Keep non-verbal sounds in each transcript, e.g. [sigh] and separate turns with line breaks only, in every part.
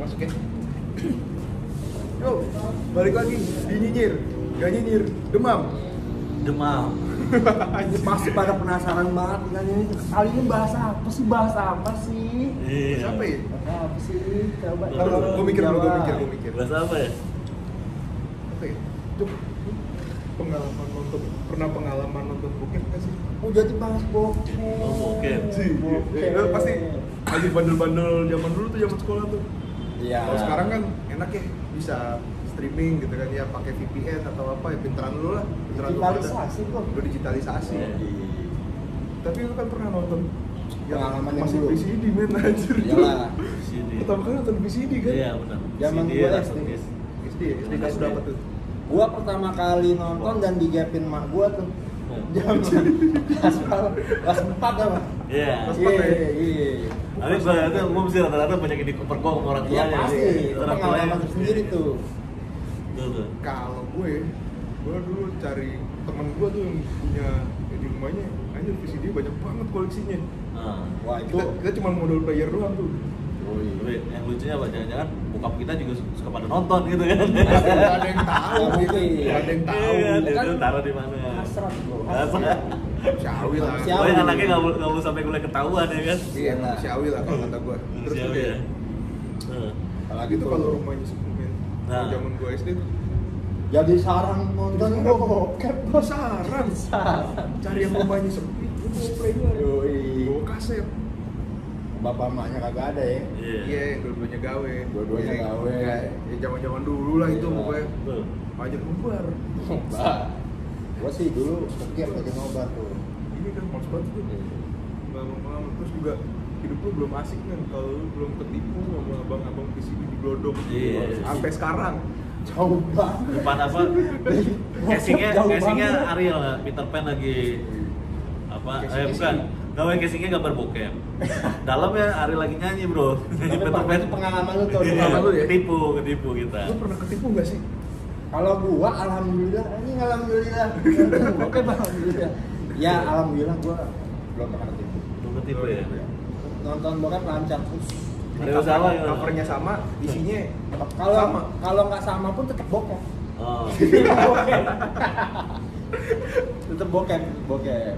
Oke. Yo, Oh, balik lagi di nyinyir, gak nyinyir, demam.
Demam.
Masih pada penasaran banget kan ini kali ini bahas apa sih? Bahas apa sih?
Iya.
Siapa ya?
Bahas Apa sih? Coba.
Ntar, ntar, gua mikir dulu, gua mikir, gua mikir.
Bahasa apa ya?
Apa ya? Cuk, pengalaman nonton, pernah pengalaman nonton bokep nggak sih?
Udah tuh Oh, bahas bokep.
Oh, bokep.
Sih, ya, lu pasti lagi bandel-bandel zaman dulu tuh zaman sekolah tuh.
Iya.
Kalau sekarang kan enak ya, bisa streaming gitu kan ya pakai VPN atau apa ya pinteran lu lah, pinteran lu ada.
digitalisasi tuh.
Udah digitalisasi.
Iya.
Tapi lu kan pernah nonton
Pengalaman yang
masih
dulu.
VCD men anjir.
Iyalah.
Di sini.
Pertama kali nonton VCD kan?
Iya, benar.
Zaman
Sini
gua
langsung
SD.
guys.
SD ya, SD kelas
SD.
berapa tuh?
Gua pertama kali nonton dan digapin mak gua tuh. Jam kelas berapa? kelas empat apa?
Iya.
Kelas empat. ya?
Iya, iya, iya.
Tapi ternyata gua mesti rata-rata banyak yang diperkok sama orang
Iya
tuanya.
pasti,
sih.
itu pengalaman tersendiri tuh.
Tuh, tuh.
Kalau gue, gue dulu cari temen gue tuh yang punya ya, di rumahnya, anjir VCD banyak banget koleksinya.
Ah.
Wah itu,
Kita, kita cuma modal player doang tuh.
Tapi yang lucunya apa? Jangan-jangan bokap kita juga suka pada nonton gitu kan?
Gak ada yang tahu,
Nggak
gitu.
mungkin.
Gak ada yang tahu.
Iya,
ya
dia
kan?
tuh taruh di mana?
hasrat bro,
Hasrat.
hasrat.
Syawi lah.
Siapa?
Pokoknya anaknya nggak boleh nggak boleh sampai kuliah ketahuan ya kan?
Iya, Syawi lah kalau kata gue. Terus
Siapa
juga
ya?
ya.
Heeh.
Apalagi
Gitu
tuh
kalau rumahnya sepumen.
Nah.
Zaman gue SD tuh.
jadi sarang nonton bokep
Gue saran,
sarang.
cari yang rumahnya sepi. Gue bawa player,
Yoi.
bawa kaset.
Bapak emaknya kagak ada ya.
Iya.
Iya, dua-duanya gawe.
Dua-duanya
Iya,
gawe.
iya. Ya zaman-zaman dulu lah itu
Iya.
pokoknya.
Tuh.
Pajak bubar.
Bah. Gua sih dulu setiap lagi nobar tuh.
Ini kan males banget tuh.
Iya.
Malam-malam terus juga hidup lu belum asik kan kalau lu belum ketipu sama abang-abang di sini di Glodok.
Iya.
Sampai sekarang.
Jauh banget.
Depan apa? Casingnya,
Jauh
casingnya
banget.
Ariel lah. Peter Pan lagi apa?
Casing-
Eh bukan. Gawai casingnya gambar bokep. Dalamnya Ariel lagi nyanyi bro.
Tapi
[laughs] Peter
Pak,
Pan
itu pengalaman lu tuh.
Iya,
Pengalaman lu ya?
Ketipu, ketipu kita.
Lu pernah ketipu gak sih?
Kalau gua alhamdulillah, ini alhamdulillah. Oke, alhamdulillah. Ya alhamdulillah gua belum pernah ketipu.
Lu ketipu ya?
Nonton bokep lancar terus.
Ada usaha ya?
Iya, Covernya sama, isinya sama.
Kalau kalau nggak sama pun tetap bokep.
Oh.
tetap bokep, bokep.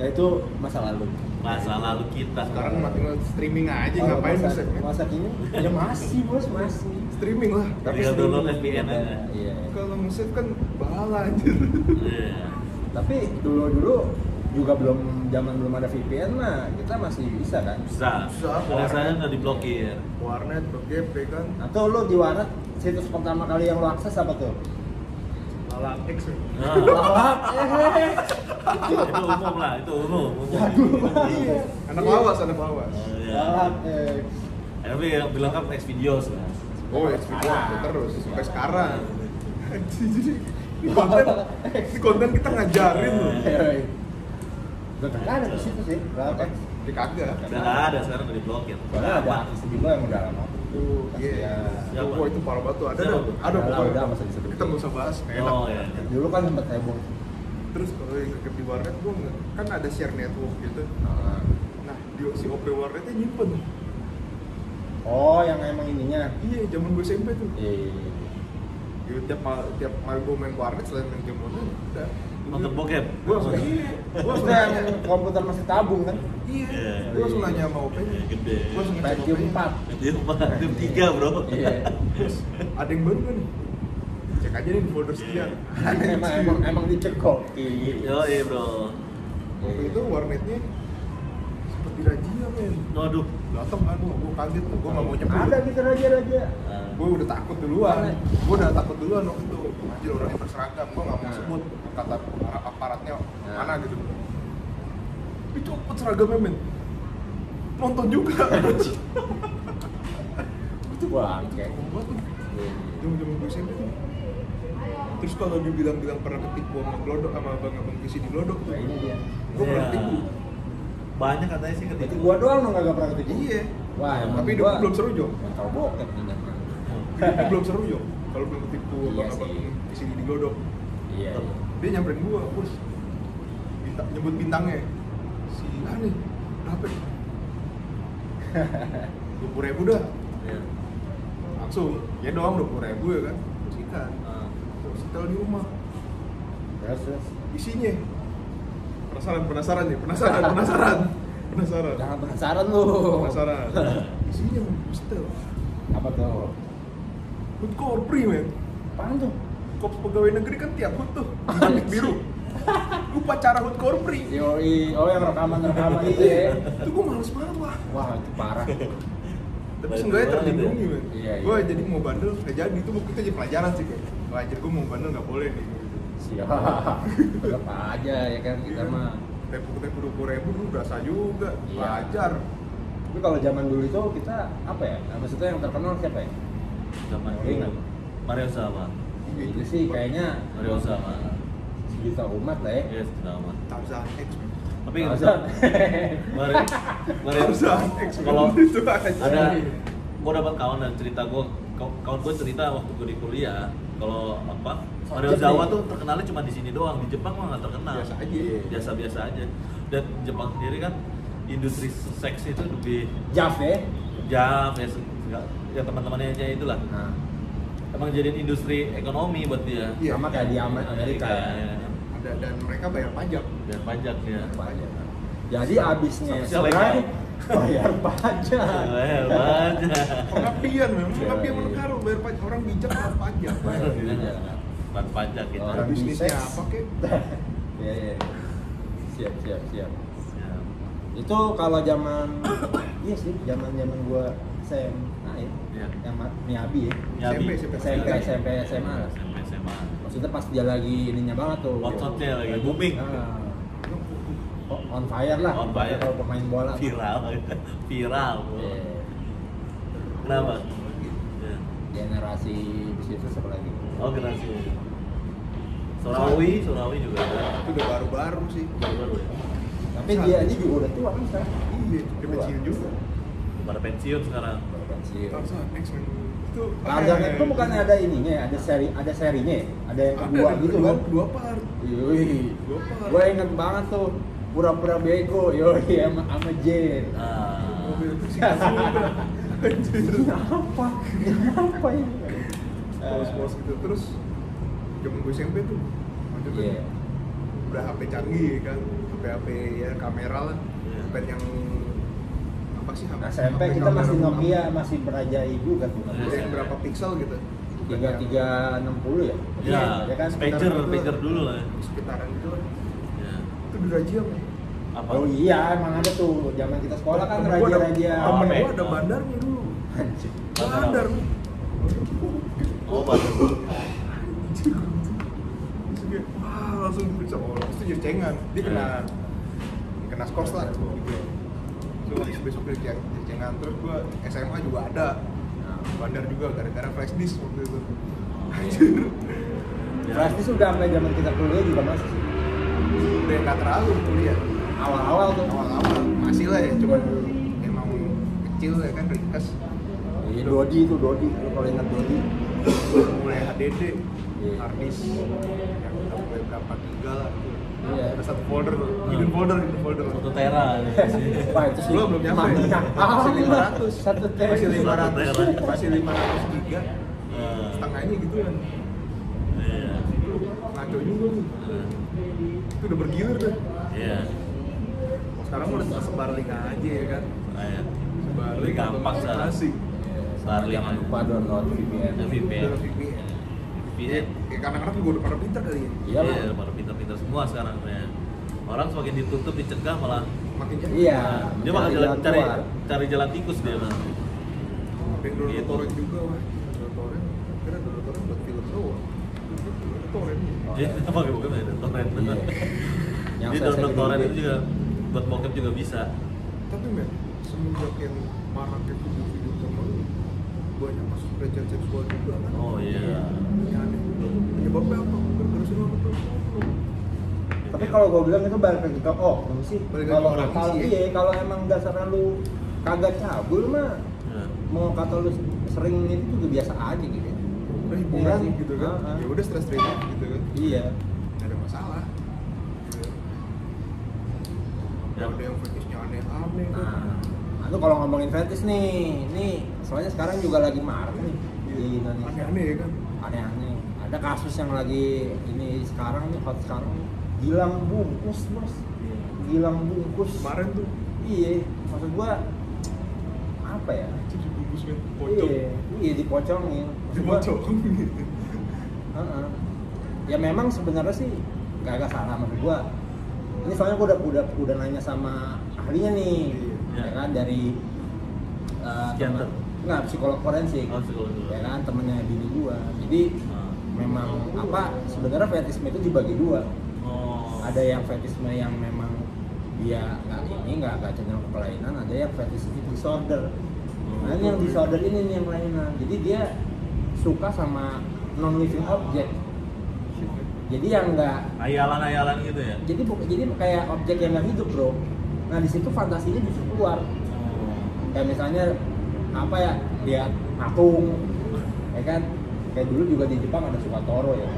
Ya itu masa lalu.
Masa lalu kita.
Sekarang mah tinggal streaming aja
Kalau
ngapain
masa,
bisa kan?
masa kini ya masih bos masih.
Streaming lah.
Tinggal download
sering-
FBN aja.
Iya.
Kalau nge kan bala anjir.
Iya.
Tapi dulu dulu juga belum zaman belum ada VPN mah kita masih bisa kan.
Bisa.
Bisa.
Rasanya nggak
[laughs]
diblokir.
Warnet, BGP kan,
Atau lo di warnet situs pertama kali yang lo akses apa tuh?
bala X. ya.
Nah,
Eh,
itu umum lah, itu umum. umum.
Jadul banget.
Anak
Iya.
lawas, anak lawas.
Oh, iya.
Galak, eh.
Tapi yang bilang kan next videos lah.
Oh, ya, streaming
Sekarang.
itu terus sampai sekarang. Jadi [laughs] di konten, di konten kita ngajarin loh.
Eh, Udah kagak ada di situ sih. Galak, eh.
Di kagak.
Udah nggak ada sekarang udah diblokir.
Soalnya ada artis juga yang udah lama tuh.
Iya.
Siapa?
Wah itu parah banget tuh. Ada ada
Siapa?
ada
Udah lah,
pokoknya.
udah, masa disebutin.
Kita nggak usah bahas. nggak Enak.
Oh ya.
Dulu kan sempet heboh.
Terus kalau yang ngekep di warnet gua nggak- kan ada share network gitu. Nah, di si OP warnetnya nyimpen.
Oh, yang emang ininya.
Iya, zaman gue SMP tuh.
Iya.
Ya, tiap mal- tiap mal gue main warnet selain main game online, udah.
Nonton bokep.
Gue langsung iya. Gue
Terus
langsung
yang
nanya.
komputer masih tabung kan?
Iya.
Iya.
Gue langsung nanya sama OP-nya.
Iya, gede.
Gue langsung ngecek
Pentium
OP-nya.
4.
Dia mah tim tiga bro.
Iya.
Terus, ada yang baru kan? Cek aja nih [laughs] di folder sekian.
[laughs] Iya. emang emang emang dicekok.
Yo bro.
Waktu itu warnetnya seperti rajia men.
Waduh.
Datang kan, gue kaget tuh, gue nggak mau nyebut.
Ada gitu raja-raja.
Ah.
Gue udah takut duluan, gue udah takut duluan waktu itu. Anjir orangnya berseragam, gue nggak mau
Nah.
sebut kata aparatnya
Nah.
mana gitu. Dicopot seragamnya men. Nonton
[laughs]
juga.
Itu bangke.
Gue tuh Jaman-jaman gue SMP tuh Terus kalau dibilang-bilang pernah ketipu sama Glodok sama abang-abang visi di Glodok tuh
Nah, ini dia.
Gue pernah
Iya.
ketipu
Banyak katanya sih
Berarti
ketipu.
gua doang dong kagak pernah ketipu.
Iya
Wah, emang
Tapi hidup
gua
gue belum seru Jong
Kalau bokep nih.
Hidup gue belum seru Jong Kalau belum ketipu
Iya
abang-abang
sih.
visi di Glodok
Iya.
Dia nyamperin gue, terus bintang, Nyebut bintangnya Si Ani,
[laughs]
berapa ya? 20 ribu dah
Iya.
langsung ya doang dua puluh ribu ya kan terus ikan
Ah.
terus setel di rumah
Terus, terus.
isinya penasaran penasaran nih penasaran [laughs] penasaran penasaran
Jangan penasaran lu.
penasaran isinya men, setel
Apa tuh?
hut korpri men
Apaan tuh?
kops pegawai negeri kan tiap hut tuh di
Iya.
batik biru upacara hut korpri
Yoi, oh yang rekaman-rekaman itu ya.
itu gue males banget
Wah, itu
[laughs]
parah.
tapi
Banyak
seenggaknya
banget
terlindungi men
Iya, iya.
gue jadi mau bandel nggak jadi itu itu jadi pelajaran sih kayak pelajar gue mau bandel nggak boleh nih
Siap. Tetap aja ya kan kita
Iya.
mah.
tepu tepu dua puluh ribu lu berasa juga
Iya.
pelajar
Tapi kalau zaman dulu itu kita apa ya? Nah, maksudnya yang terkenal siapa ya?
Zaman
Iya.
dulu. Mario sama. Iya.
Itu sih kayaknya
Mario sama.
sejuta umat lah ya.
Yes, sama.
Tarzan X men
Tapi nggak
Masa?
usah. Mario Mario
Tarzan X men.
Kalau
[laughs] itu aja.
ada gue dapat kawan dan cerita gue kawan gue cerita waktu gue di kuliah kalau apa Mario
Jepang.
Zawa tuh terkenalnya cuma di sini doang di Jepang mah nggak terkenal
biasa aja
Iya.
ya
biasa-biasa aja dan Jepang sendiri kan industri seks itu lebih
Jaf ya.
jam ya, se- nggak- ya teman-temannya aja itulah
Nah,
emang jadiin industri ekonomi buat dia
Iya.
sama kayak di Amer- Amerika. ya.
ada dan mereka bayar pajak
dan pajak
[laughs]
ya
Pajak. Jadi abisnya
Sama si
serai
legal.
[laughs] bayar pajak.
Bayar Eh, pajak
pengabdian memang
Iya,
pengabdian
iya.
negara bayar pajak orang bijak bayar pajak
Bayar pajak.
Bukan pajak gitu
Orang
bisnisnya
bisnis.
apa kek
Iya, iya. Siap, siap, siap.
Ya.
Itu kalau zaman iya sih, zaman-zaman gua SMA ya.
Iya.
Yang ma- Miabi ya.
SMP,
SMP
SMP, SMP, SMA lah.
SMP SMA
Maksudnya pas dia lagi ininya banget tuh.
Hotshotnya lagi booming
Nah, Oh, on fire lah.
On fire.
Kalau pemain bola.
viral [laughs] viral
Iya.
kenapa Ya.
Generasi bisnisnya siapa lagi?
oh generasi Surawi Surawi juga ada
itu udah baru-baru sih
baru-baru ya
Tapi dia aja juga udah tua kan sekarang.
iya udah kecil juga
pada pensiun sekarang
Baru pensiun.
Tarzan X men kan. itu
Tarzan
eh,
itu bukannya Iya. ada ininya, ya, ada seri, ada serinya, ya? ada yang kedua
ada
gitu
dua-
kan?
dua part
Yoi,
dua part
gue inget banget tuh pura-pura bego, yoi sama sama Jen.
ah
mobil itu sih juga anjir
Ini apa? Ini apa ini?
polos-polos gitu terus zaman gue SMP tuh maksudnya
Iya.
udah HP canggih kan HP HP ya kamera lah
Iya.
HP yang apa sih HP
SMP
HP
kita
kamera
masih
berapa-
Nokia, masih berajai juga tuh.
ada
Iya.
yang berapa piksel gitu
Tiga tiga enam puluh ya?
ya
ya kan?
pager pager dulu lah
sekitaran itu kan,
ya.
itu dirajia men
apa
Oh iya, emang ada tuh zaman kita sekolah kan
Temen gua ada-
raja-raja.
temen
Apa?
gua ada bandarnya dulu
Anjir.
Bandar apa?
bandar
oh baru
Anjir. Terus dia, wah langsung bisa oh langsung jadi cengan dia kena kena skors lah gitu so besok dia jadi jadi cengan terus gua SMA juga ada
Nah,
bandar juga gara-gara flash disk waktu itu
Ya.
Pasti sudah sampai zaman kita kuliah juga masih sih.
udah nggak terlalu kuliah
awal-awal tuh.
awal-awal masih lah ya cuma emang kecil ya kan ringkas
Iya, Dodi itu Dodi, lu kalau ingat Dodi.
mulai HDD
Iya.
harddisk yang udah mulai berapa giga lah [laughs]
Iya.
ada satu folder tuh hidden folder hidden folder
satu tera
[laughs] Wah, itu sih.
Belum, belum nyampe.
Maminya.
Masih 500.
Satu teh.
masih 500
Ah, Satu tera.
masih 500 giga
Eh,
setengahnya gitu kan
iya.
ngaco juga tuh
Eh,
itu udah bergilir tuh
iya
Kalau sekarang udah sebar link aja ya kan
Iya.
sebar
Lebih
link atau
gampang
masing
sekarang.
asing
Starlink.
Jangan lupa download VPN.
Ada VPN
VPN.
VPN
ya karena anak juga udah pada pintar kali ya
Iya lah.
Iya, pada pintar-pintar semua sekarang ya. Orang semakin ditutup, dicegah malah
makin jadi
Iya.
dia
Cari
malah jalan,
jalan
cari
keluar.
cari jalan tikus dia mah.
Ada yang download
Gitu.
torrent juga wah download torrent kira download torrent buat film doang Download torrent
Iya, [laughs] pakai bokep ada torrent. [laughs]
Iya. Yang
Jadi
saya
download
sering
torrent
beli.
itu juga buat bokep juga bisa.
tapi men semenjak yang maraknya video video sama lu banyak kasus pelecehan seksual juga kan
Oh iya.
Yang aneh. penyebabnya apa berkerusuhan sama perempuan
Tapi kalau gue bilang itu balik lagi ke oh, belum sih.
Balik lagi
Kalau
ke tradisi
kalau
ya.
iya, kalau emang dasarnya lu kagak cabul mah
Iya.
mau kata lu sering itu juga biasa aja gitu.
udah hiburan
Iya sih.
gitu kan
Ah, ah.
ya udah stress stress gitu kan
Iya.
nggak ada masalah
Ya.
ya. ada yang fetishnya aneh-aneh kan
Ah.
Nah, itu kalau ngomongin fetish nih, nih soalnya sekarang juga lagi marah nih. Indonesia
aneh-aneh ya kan
aneh-aneh ada kasus yang lagi ini sekarang nih hot sekarang nih hilang bungkus bos hilang bungkus
kemarin tuh
iya maksud gua apa ya
itu dibungkus kan pocong
iya iya dipocongin Maksud gua,
dipocong
Heeh. Ya memang sebenarnya sih gak agak salah maksud gua. Ini soalnya gua udah udah udah nanya sama ahlinya nih,
Iya.
ya kan dari eh,
Psikiater.
teman- nggak psikolog forensik,
Oh, psikolog forensik.
ya kan temennya bini gua. Jadi
Ah.
memang apa sebenarnya fetisme itu dibagi dua.
oh
Ada yang fetisme yang memang dia nggak ini nggak nggak cenderung ke kelainan, ada yang fetisme disorder.
Oh,
Nah ini yang
gitu.
disorder ini nih yang kelainan. Jadi dia suka sama non living object jadi yang enggak
ayalan-ayalan gitu ya
jadi bu- jadi kayak objek yang nggak hidup bro nah di situ fantasinya justru keluar Oh. kayak misalnya apa ya dia patung ya kan kayak dulu juga di Jepang ada suka toro ya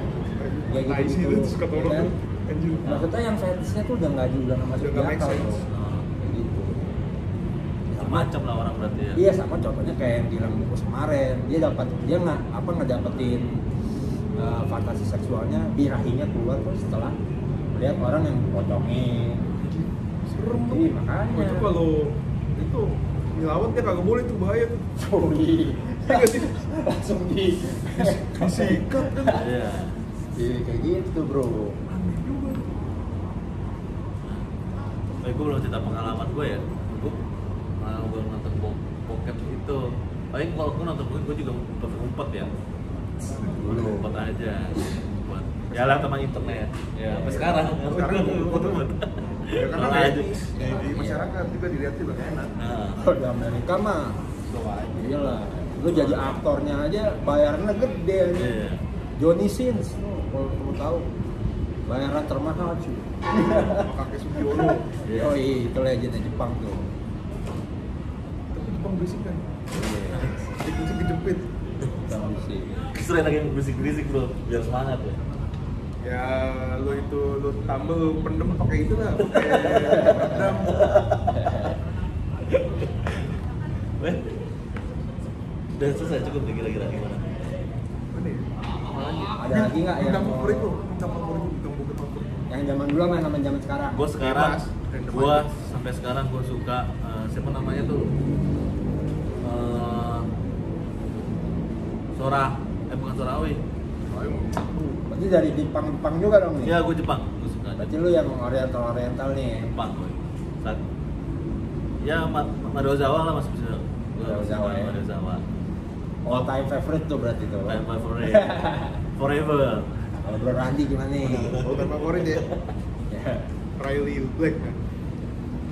Ya, gitu,
nah isi
gitu.
itu suka tolong
Iya kan?
anjir
maksudnya yang fetishnya tuh udah nggak udah nggak masuk
Udah
di
nggak make
akal
sense.
bro Kayak gitu
macam Oh. lah orang berarti ya
Iya sama contohnya kayak yang bilang buku kemarin dia dapat dia nggak apa ngedapetin eh, fantasi seksualnya birahinya keluar terus setelah melihat orang yang [laughs] pocongin
serem tuh
Iya, makanya.
Oh, itu kalau itu nyelawat dia kagak boleh tuh bahaya tuh
Sorry.
Iya nggak sih?
langsung di
disikat kan
Iya.
Iya kayak gitu bro.
aneh juga tuh.
Eh, gue belum cerita pengalaman gue ya. Gue pernah gue nonton bo- bokep itu. Paling kalau gue nonton bokep, gue juga ngumpet-ngumpet ya. Ngumpet aja. Ngumpet. Ya lah teman internet. Ya, sampai sekarang.
Sekarang ngumpet-ngumpet. ya karena
Nah,
Malah
kayak
aja.
di, di
Iya.
masyarakat juga dilihatin lah enak
Nah,
Kalau di Amerika mah, iyalah. Lu jadi aktornya aja bayarnya gede. aja.
iya.
Johnny Sins, lu kalau perlu tahu, bayaran termahal cuy.
sama kakek
[laughs]
Sugiono
Iya.
Oh iya, itu legendnya Jepang tuh.
tapi Jepang berisik kan
Iya.
dikunci kejepit
Jepang sih.
Justru lagi berisik-berisik bro, biar semangat ya.
ya lu itu lu tambel lu pendem pakai itu lah pakai rendam
Weh. Udah selesai cukup nih kira-kira gimana?
mana ya
Ada lagi nggak yang
bintang
mau-
favorit lu bintang favorit lu bintang bokep favorit lu.
Yang zaman dulu sama yang zaman zaman sekarang.
Gue sekarang,
Bebas, random
gue
aja.
sampai sekarang gue suka eh, siapa namanya tuh? Eh, Sora, eh bukan Sorawi.
Ayo,
Berarti dari Jepang Jepang juga dong nih.
Ya gue Jepang, gue suka
Berarti
Jepang.
lu yang Oriental Oriental nih.
Jepang gue. Saat ya Ma- Madozawa lah masih bisa. Gua
Madozawa
suka
ya.
Madozawa.
All time favorite tuh berarti tuh.
My my forever.
[laughs]
Forever.
Kalau Bro Randi gimana nih? [laughs]
bintang favorit ya
Ya.
Riley Black kan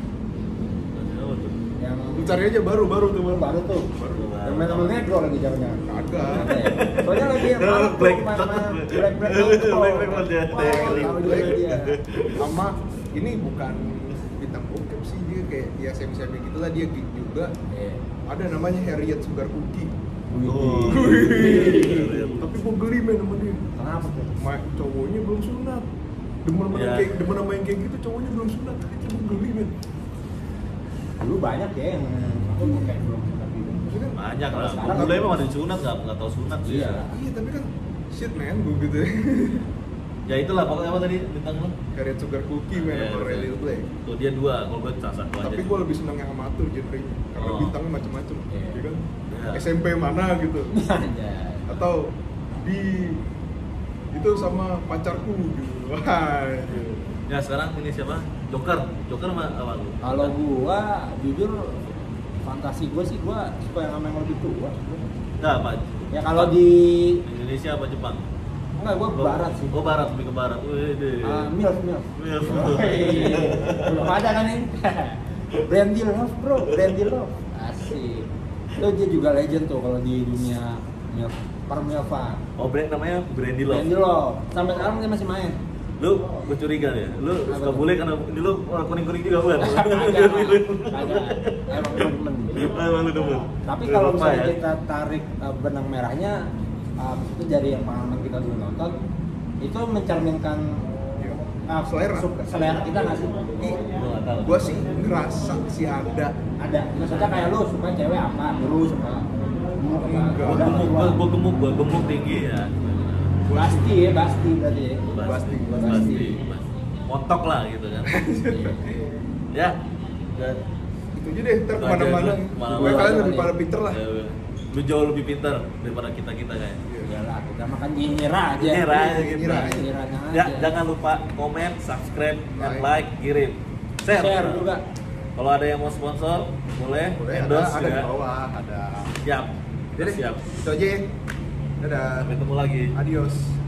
Madozawa tuh.
yang
lu cari aja baru baru tuh baru
baru tuh
baru
yang main sama negro lagi jangan-jangan Ada
kagak
ya? soalnya lagi yang baru tuh
Black-
sama- sama
Black-
black black
Black- Black Mamba, ya.
tahu juga dia
sama ini bukan bintang bokep sih dia kayak ya semi semi gitulah dia geek juga
Iya.
ada namanya Harriet Sugar Cookie
Oh.
Wih.
tapi gue geli main sama dia
kenapa tuh
Ma, cowoknya belum sunat demen sama
Iya.
yang kayak demen sama yang kayak gitu cowoknya belum sunat itu gue geli men
dulu banyak ya yang aku kayak belum tapi
Maksudnya,
Banyak
Kalau
lah.
sekarang-
Mulai mah ada yang sunat nggak nggak tahu sunat sih.
Iya.
iya tapi kan shit man gue gitu [laughs]
Ya itulah pokoknya apa tadi bintang lo?
Harriet Sugar Cookie main
Iya,
sama
betul.
Riley Blake
Tuh dia dua, kalau gue salah satu aja.
tapi gue lebih seneng yang amatur genre-nya karena
Oh.
bintangnya macam-macam
Iya.
ya kan
Iya.
SMP mana gitu
Anjay.
atau di itu sama pacarku gitu wah gitu.
Ya sekarang ini siapa? Joker, Joker mah apa lu?
kalau gua jujur fantasi gua sih gua suka yang sama yang lebih tua
Nah, apa?
ya kalau di
Indonesia apa Jepang?
enggak gua barat sih
Oh barat, lebih ke barat. Wih, deh.
Ah, milf milf
Milf.
belum ada kan ini [laughs] Brandy Love bro Brandy Love asik itu dia juga legend tuh kalau di dunia milf per milfan
Oh brand namanya Brandy Love.
Brandy Love sampai sekarang dia masih main
Lu gue curiga ya. Lu
Apa
suka
tuh?
bule karena ini lu orang kuning-kuning juga
[laughs]
bukan?
Kagak, kagak. emang temen
Emang lu demen.
tapi
Lu
kalau
lupa
misalnya
ya.
kita tarik eh, benang merahnya eh, itu dari yang pengalaman kita dulu nonton itu mencerminkan
Ya.
eh,
Selera.
suka- selera kita nggak sih
Gua nggak tahu.
gue sih ngerasa sih ada [laughs]
ada maksudnya kayak lu suka cewek apa dulu suka gemuk apa?
Enggak.
Gua
Udah
gemuk,
tua.
gua, gua gemuk, gua gemuk tinggi ya.
Basti ya, Basti berarti ya.
Pasti,
Pasti,
pasti, pasti. Otok lah gitu
[laughs]
kan. ya.
Dan itu aja deh, ntar
itu aja
kemana-mana.
dulu, kemana-mana.
Pokoknya kalian lebih
Iya.
pada pinter lah.
Ya, ya. Lu jauh lebih pintar daripada kita-kita kayak.
Iyalah, kita makan nyinyir aja.
Nyinyir aja gitu.
Nyinyirannya aja.
Ya, jangan lupa komen, subscribe, dan
Like.
like, kirim. Share.
share, juga.
Kalau ada yang mau sponsor, boleh,
Boleh, ada,
endorse
ada di
juga.
bawah, ada.
Siap.
Jadi,
Siap.
itu aja. ya. Dadah.
Sampai ketemu lagi.
Adios.